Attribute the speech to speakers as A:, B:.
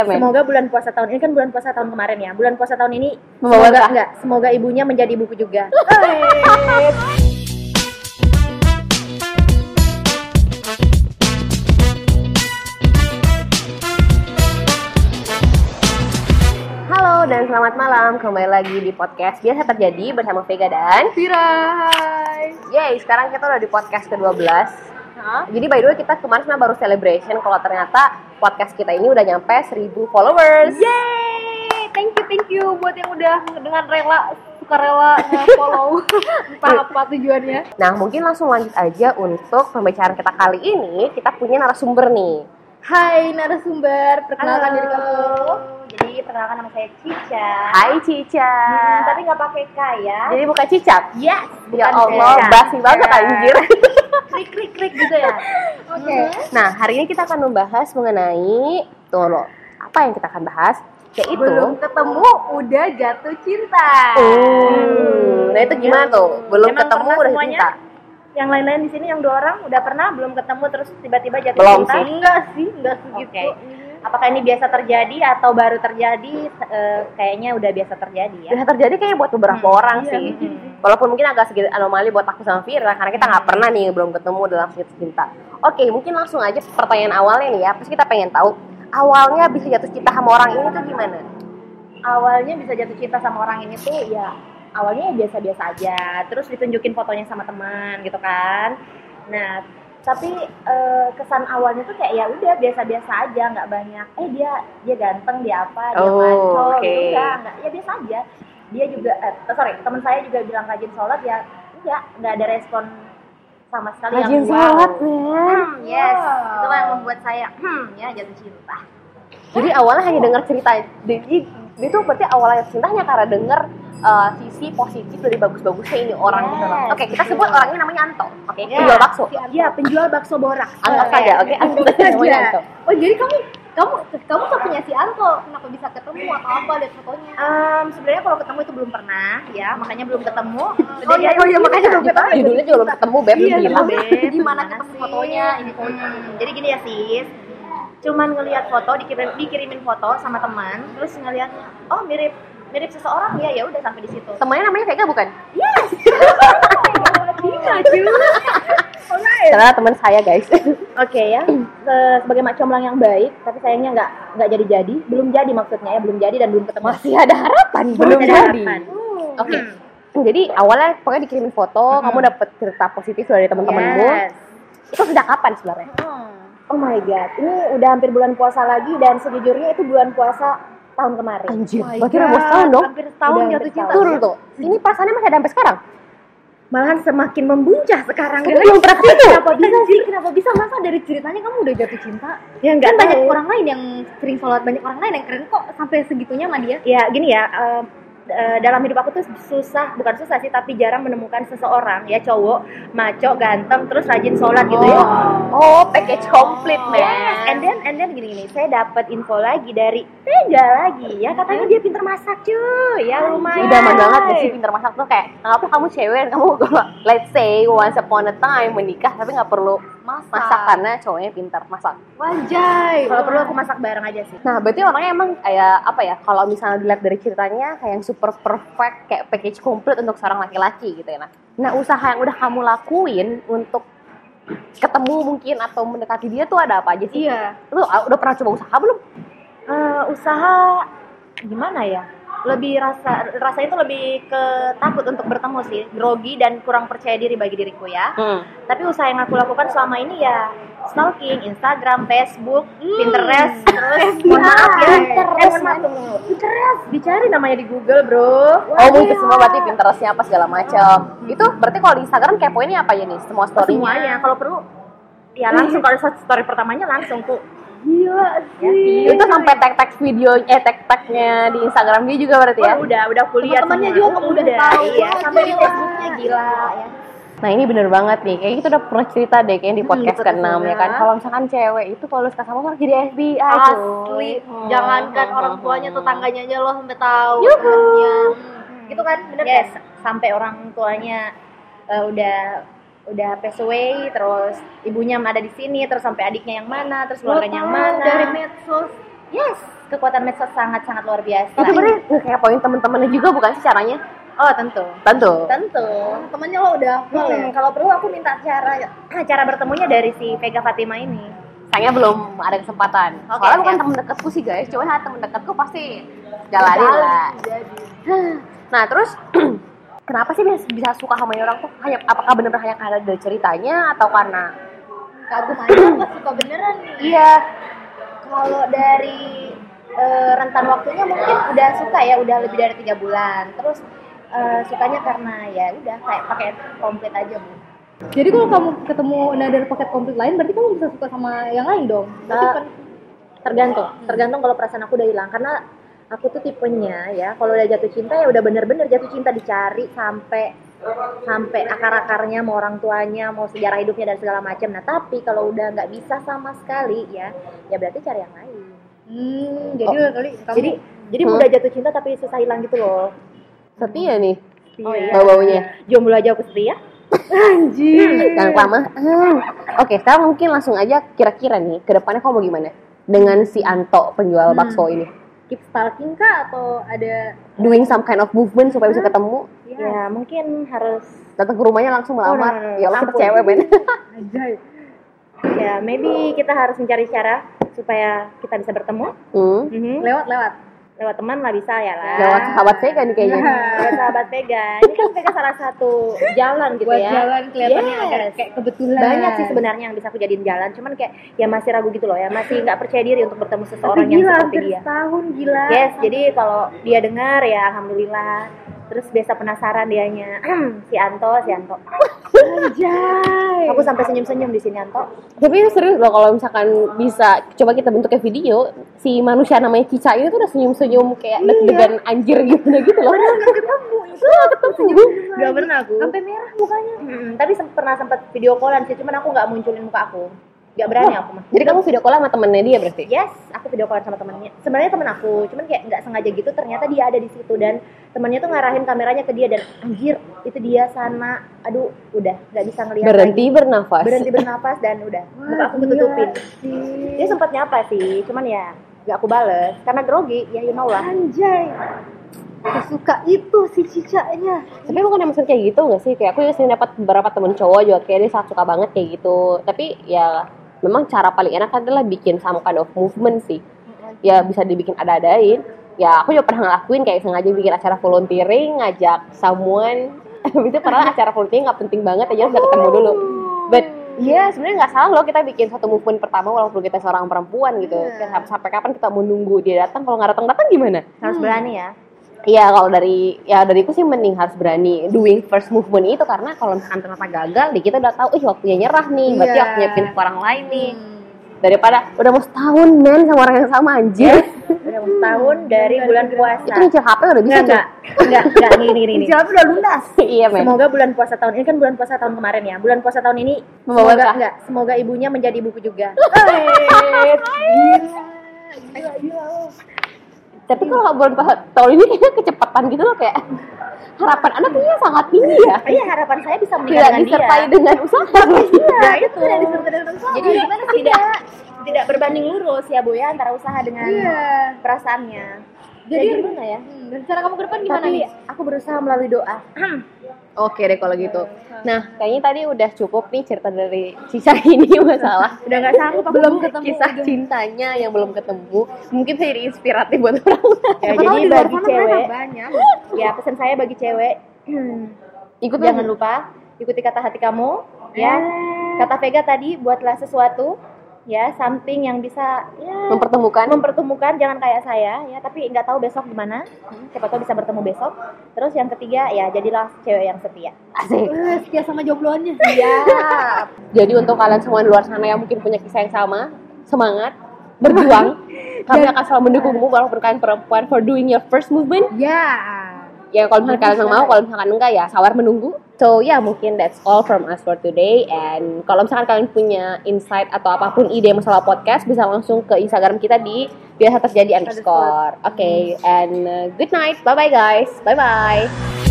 A: Semoga bulan puasa tahun ini kan bulan puasa tahun kemarin ya. Bulan puasa tahun ini
B: Membawa
A: semoga
B: berkah.
A: enggak, semoga ibunya menjadi ibuku juga.
B: Halo dan selamat malam kembali lagi di podcast biasa terjadi bersama Vega dan
C: Vira, hai.
B: Yay sekarang kita udah di podcast ke-12 Jadi by the way kita kemarin sebenarnya baru celebration kalau ternyata podcast kita ini udah nyampe 1000 followers
C: Yeay, thank you, thank you buat yang udah dengan rela, suka rela follow entah apa tujuannya.
B: Nah mungkin langsung lanjut aja untuk pembicaraan kita kali ini kita punya narasumber nih
A: Hai narasumber, perkenalkan diri kamu.
C: Jadi perkenalkan nama saya Cica.
B: Hai Cica
C: Hmm,
A: Hmm,
C: tapi nggak pakai K ya.
B: Jadi bukan Cicak
C: Yes.
B: Ya Allah basi banget
A: Iya.
B: anjir
C: Klik klik klik gitu ya. Oke.
A: Hmm.
B: Nah, hari ini kita akan membahas mengenai tunggu lo. Apa yang kita akan bahas? Yaitu Hmm,
C: Belum ketemu udah jatuh cinta.
B: Oh, nah itu gimana tuh? Belum
A: Emang
B: ketemu
A: pernah
B: udah
A: semuanya?
B: cinta.
A: Yang lain-lain di sini yang dua orang udah pernah belum ketemu terus tiba-tiba jatuh
B: Belum
A: cinta?
B: sih.
A: Enggak sih, enggak segitu.
C: Oke.
A: Apakah ini biasa terjadi atau baru terjadi? Eh, kayaknya udah biasa terjadi ya.
B: Bisa terjadi kayaknya buat beberapa orang sih.
A: Hmm.
B: Walaupun mungkin agak sedikit anomali buat aku sama Vira karena kita nggak pernah nih belum ketemu dalam jatuh cinta. Oke, mungkin langsung aja pertanyaan awalnya nih ya. Terus kita pengen tahu awalnya bisa jatuh cinta sama orang ini tuh gimana?
A: awalnya bisa jatuh cinta sama orang ini tuh ya awalnya ya biasa-biasa aja terus ditunjukin fotonya sama teman gitu kan nah tapi eh, kesan awalnya tuh kayak ya udah biasa-biasa aja nggak banyak eh dia dia ganteng dia apa dia
B: Oh,
A: maco
B: oke.
A: gitu enggak enggak ya biasa aja dia juga eh, sorry teman saya juga bilang rajin sholat ya enggak nggak ada respon sama sekali
B: Rajin
A: yang wow.
B: sholat, men.
C: Hmm, yes.
A: Wow.
C: Itulah yang membuat saya hmm ya jatuh cinta.
B: Jadi awalnya hanya dengar cerita jadi dia tuh berarti awalnya cintanya karena denger uh, sisi positif dari bagus-bagusnya ini orang
C: Yes,
B: gitu loh. Oke, kita
C: betul.
B: sebut orangnya namanya Anto. Oke,
C: Yes.
B: penjual bakso.
A: Iya, penjual bakso borak. Iya.
B: Anggap saja,
A: ya,
B: oke. Anto namanya Anto.
C: Oh jadi kamu kamu kamu punya si Anto kenapa bisa ketemu atau apa lihat fotonya?
A: Em, sebenarnya kalau ketemu itu belum pernah ya, makanya belum ketemu.
C: Oh, iya, oh, iya, makanya belum Iya,
B: Judul- Judulnya juga belum ketemu, Beb, belum bilang.
C: Di
A: Beb.
C: mana
A: Gimana
C: ketemu
A: sih?
C: fotonya, ini fotonya.
A: Hmm, jadi gini ya sis, cuman ngelihat foto dikirim dikirimin foto sama teman, terus ngelihat oh mirip mirip seseorang ya ya udah sampai di
C: iya.
A: situ.
B: Temannya namanya Vega bukan?
C: Oh, iya,
A: Alright.
B: Karena teman saya, guys.
A: Oke ya, se- sebagai mak comblang yang baik, tapi sayangnya nggak nggak jadi jadi, belum jadi maksudnya ya belum jadi dan belum ketemu.
B: Masih ada harapan, belum
A: ada
B: jadi.
A: harapan.
B: Oke.
C: Hmm.
B: Jadi awalnya pokoknya dikirimin foto, kamu dapet cerita positif dari teman-temanmu.
A: Yes.
B: Itu sejak kapan sebenarnya?
A: Oh my god, ini udah hampir bulan puasa lagi dan sejujurnya itu bulan puasa tahun kemarin.
B: Anjir,
C: my
B: berarti udah
C: God,
B: mau setahun dong.
C: Hampir setahun jatuh
A: Udah Oh hampir
C: cinta.
A: setahun.
B: Turun tuh. Ini perasaannya masih ada sampai sekarang.
A: Malahan semakin membuncah sekarang.
B: Kamu belum pernah ketemu.
C: Kenapa bisa sih? Kenapa bisa masa dari ceritanya kamu udah jatuh cinta?
A: Ya
C: Kan
A: nggak
C: banyak
A: tahu.
C: orang lain yang sering sholat, banyak orang lain yang keren kok sampai segitunya sama dia.
A: ya gini ya eh, eh, dalam hidup aku tuh susah bukan susah sih tapi jarang menemukan seseorang ya cowok maco ganteng terus rajin sholat gitu ya Oh.
B: Oh, package complete,
C: Oh,
B: man.
A: Yes, and then and then gini gini saya dapat info lagi dari Tega lagi ya katanya dia pinter masak cuy ya lumayan
B: Udah mah banget gak sih pinter masak tuh kayak kenapa kamu cewek dan kamu let's say once upon a time menikah tapi nggak perlu
C: Masa?
B: masak karena cowoknya pintar masak.
C: Wajay.
A: kalau perlu aku masak bareng aja sih
B: Nah berarti orangnya emang kayak apa ya kalau misalnya dilihat dari ceritanya kayak yang super perfect kayak package komplit untuk seorang laki-laki gitu ya. Nah. nah usaha yang udah kamu lakuin untuk ketemu mungkin atau mendekati dia tuh ada apa aja sih?
C: Iya.
B: Lu uh, udah pernah coba usaha belum?
A: Eh, usaha gimana ya lebih rasa rasanya tuh lebih ke takut untuk bertemu sih grogi dan kurang percaya diri bagi diriku ya
B: Hmm.
A: tapi usaha yang aku lakukan selama ini ya stalking Instagram Facebook Pinterest terus mohon maaf ya
B: Pinterest,
A: eh, mohon maaf tunggu, tunggu. Pinterest dicari namanya di Google bro
B: Oh mungkin semua berarti Pinterestnya apa segala macam. Hmm. Itu berarti kalau di Instagram kepoinnya apa ya nih? Semua story
A: semuanya kalau perlu ya langsung kalau story pertamanya langsung tuh
C: Gila sih.
B: itu sampai tag tag video eh tag tagnya di Instagram dia juga berarti ya
A: Oh, udah udah kuliah
C: Teman-temannya
A: semua.
C: juga kamu udah tahu.
A: iya
C: Wah,
A: sampai di
C: gila.
A: Facebooknya gila ya
B: nah ini bener banget nih kayaknya kita udah pernah cerita deh kayaknya di podcast
C: podcast
B: ke-6 ya kan
C: ya.
B: kalau misalkan cewek itu kalau suka sama orang jadi FBI
C: Asli.
A: Oh.
B: cuy.
C: Jangankan orang tuanya, tetangganya aja lo sampai tahu.
B: Yuhu.
C: temennya.
A: Hmm.
C: Gitu kan, bener
A: yes
C: kan?
A: sampai orang tuanya eh, udah udah pass away terus ibunya ada di sini terus sampai adiknya yang mana terus
C: Lo
A: keluarganya yang
C: tahu
A: mana
C: Dari medsos.
A: yes kekuatan medsos sangat-sangat luar biasa.
B: Itu berarti ngekepoin temen-temennya juga bukan sih caranya?
A: Oh tentu.
B: Tentu.
A: Tentu.
C: Temennya lo udah hafal ya?
A: Hmm, kalau perlu aku minta cara cara bertemunya dari si Vega Fatima ini.
B: Sayangnya belum ada kesempatan.
A: Oke,
B: Soalnya bukan
A: oke.
B: temen deketku sih guys, cuman ada temen deketku pasti jalanin lah.
C: Jadi.
B: Nah terus kenapa sih bisa, bisa suka sama orang tuh? Hanya apakah benar-benar hanya karena dari ceritanya atau karena
C: Kagum aja apa suka beneran nih?
A: Iya. Kalau dari eh, rentan waktunya mungkin udah suka ya, udah lebih dari tiga bulan. Terus eh, sukanya karena ya udah kayak pakai komplit aja bu.
D: Jadi kalau kamu ketemu nah dari paket komplit lain, berarti kamu bisa suka sama yang lain dong.
A: Nah, tergantung, tergantung kalau perasaan aku udah hilang karena aku tuh tipenya ya kalau udah jatuh cinta ya udah bener-bener jatuh cinta dicari sampai sampai akar-akarnya mau orang tuanya mau sejarah hidupnya dan segala macam nah tapi kalau udah nggak bisa sama sekali ya ya berarti cari yang lain
D: Hmm, jadi
B: Oh.
D: udah kali kamu
A: jadi jadi
B: Hmm.
A: mudah jatuh cinta tapi susah hilang gitu loh
B: setia nih
A: oh,
B: bau-baunya.
A: jomblo aja aku ya. setia
C: Iya,
D: anjir.
B: Jangan kelamaan. Oke, sekarang mungkin langsung aja kira-kira nih ke depannya kamu mau gimana? Dengan si Anto penjual
D: Hmm.
B: bakso ini.
D: Keep stalking kah atau ada
B: Doing some kind of movement supaya bisa ketemu.
D: ya
A: ya mungkin harus
B: Datang ke rumahnya langsung
A: Oh, no, no,
B: melamar.
A: no.
B: Ya Allah kita
A: Ampun.
B: cewek, Ben.
D: ajaib.
A: ya maybe kita harus mencari cara supaya kita bisa bertemu
B: Hmm.
A: Mhm.
D: Lewat-lewat.
A: lewat teman lah bisa ya lah
D: Iya.
B: Lewat sahabat saya kan
A: Gitu
B: kayaknya.
A: Buat sahabat Vega, ini kan Vega salah satu jalan gitu
D: Buat
A: ya.
D: jalan kelihatannya ada
A: Yes.
D: kayak kebetulan.
A: Banyak sih sebenarnya yang bisa aku jadiin jalan, cuman kayak ya masih ragu gitu loh ya, masih nggak percaya diri untuk bertemu
D: Tapi
A: seseorang yang
D: gila,
A: seperti
D: hampir
A: dia.
D: setahun gila.
A: Yes, jadi kalau dia dengar ya alhamdulillah. Terus biasa penasaran dianya, si Anto, si Anto.
D: Anjay.
A: Aku sampai senyum-senyum di sini Anto.
B: Tapi ini serius loh kalau misalkan bisa coba kita bentuk kayak video si manusia namanya Cica ini tuh udah senyum-senyum kayak deg-degan anjir gitu gitu loh.
D: Nggak ketemu.
B: Tuh, ketemu.
A: Gak pernah aku.
D: Sampai merah mukanya.
A: Hmm, tapi sem- pernah sempat video callan sih, cuman aku nggak munculin muka aku. Gak berani aku mah.
B: Jadi kamu video call sama temennya dia berarti?
A: Yes, aku video call sama temennya. Sebenarnya temen aku, cuman kayak nggak sengaja gitu. Ternyata dia ada di situ dan temennya tuh ngarahin kameranya ke dia dan anjir itu dia sana. Aduh, udah nggak bisa ngelihat.
B: Berhenti
A: lagi.
B: bernafas.
A: iya, berhenti bernafas dan udah muka aku ketutupin. Dia sempat nyapa sih, cuman ya nggak aku bales karena grogi. Ya you know lah.
D: Anjay. Aku suka itu si cicaknya.
B: Tapi bukan yang maksud kayak gitu gak sih? Kayak aku juga sering dapat beberapa temen cowok juga kayak dia sangat suka banget kayak gitu. Tapi ya memang cara paling enak adalah bikin some kind of movement sih. Ya bisa dibikin ada-adain. Ya aku juga pernah ngelakuin kayak sengaja bikin acara volunteering, ngajak someone. Habis itu pernah acara volunteering nggak penting banget aja udah ketemu dulu. But Iya, sebenarnya nggak salah loh kita bikin satu movement pertama walaupun kita seorang perempuan gitu. Sampai, sampai kapan kita mau nunggu dia datang? Kalau nggak datang datang gimana?
A: Harus berani ya.
B: Iya kalau dari ya dariku sih mending harus berani doing first movement itu karena kalau misalkan ternyata gagal di kita udah tahu ih waktunya nyerah nih berarti
D: Iya.
B: waktunya pindah ke orang lain nih daripada udah mau setahun men sama orang yang sama anjir
A: Udah mau setahun dari bulan puasa.
B: itu nyicil HP udah bisa tuh
A: Nggak, nggak, nggak, iya. nggak, gini, gini, gini.
D: Jawab udah lunas.
B: iya men
A: Semoga bulan puasa tahun ini kan bulan puasa tahun kemarin ya. Bulan puasa tahun ini
B: Membawa
A: semoga
B: berkah.
A: enggak, semoga ibunya menjadi ibuku juga.
B: tapi kalau bulan pas- tahun ini kayaknya kecepatan gitu loh kayak harapan anak kayaknya sangat tinggi ya
A: Iya, harapan saya bisa menikah
B: tidak
A: dengan
B: disertai
A: dia.
B: dengan usaha
D: Iya,
A: Nah, itu. Jadi
D: Jadi
A: gimana tidak tidak berbanding lurus ya Bu ya antara usaha dengan
D: iya.
A: perasaannya.
D: Jadi
A: Ya, gimana ya?
D: Hmm, dan cara kamu ke depan gimana
A: Tapi
D: nih?
A: aku berusaha melalui doa.
D: hmm,
B: oke deh kalau gitu
D: Iya.
B: nah kayaknya tadi udah cukup nih cerita dari sisa ini
D: Iya.
B: masalah
A: Udah nggak sanggup aku.
B: belum ketemu kisah cintanya yang belum ketemu mungkin saya jadi inspiratif buat orang lain.
A: Ya,
D: Siapa tahu
A: jadi
D: di luar
A: bagi
D: sana mereka
A: cewek,
D: banyak.
A: ya pesan saya bagi cewek,
B: ikut
A: jangan lupa ikuti kata hati kamu
D: Eh.
A: ya. Kata Vega tadi buatlah sesuatu ya something yang bisa ya
B: mempertemukan
A: mempertemukan jangan kayak saya ya tapi nggak tahu besok gimana
D: Hmm.
A: siapa tahu bisa bertemu besok terus yang ketiga ya jadilah cewek yang setia
B: asik
D: Eh, Setia sama jombloannya.
B: jadi untuk kalian semua di luar sana yang mungkin punya kisah yang sama semangat berjuang kami akan selalu mendukungmu walaupun kalian perempuan for doing your first movement
D: Ya.
B: ya kalau misalkan kalian mau kalau misalkan enggak ya sabar menunggu so ya mungkin that's all from us for today and kalau misalkan kalian punya insight atau apapun ide masalah podcast bisa langsung ke instagram kita di biasa terjadi underscore oke and uh, good night bye bye guys bye bye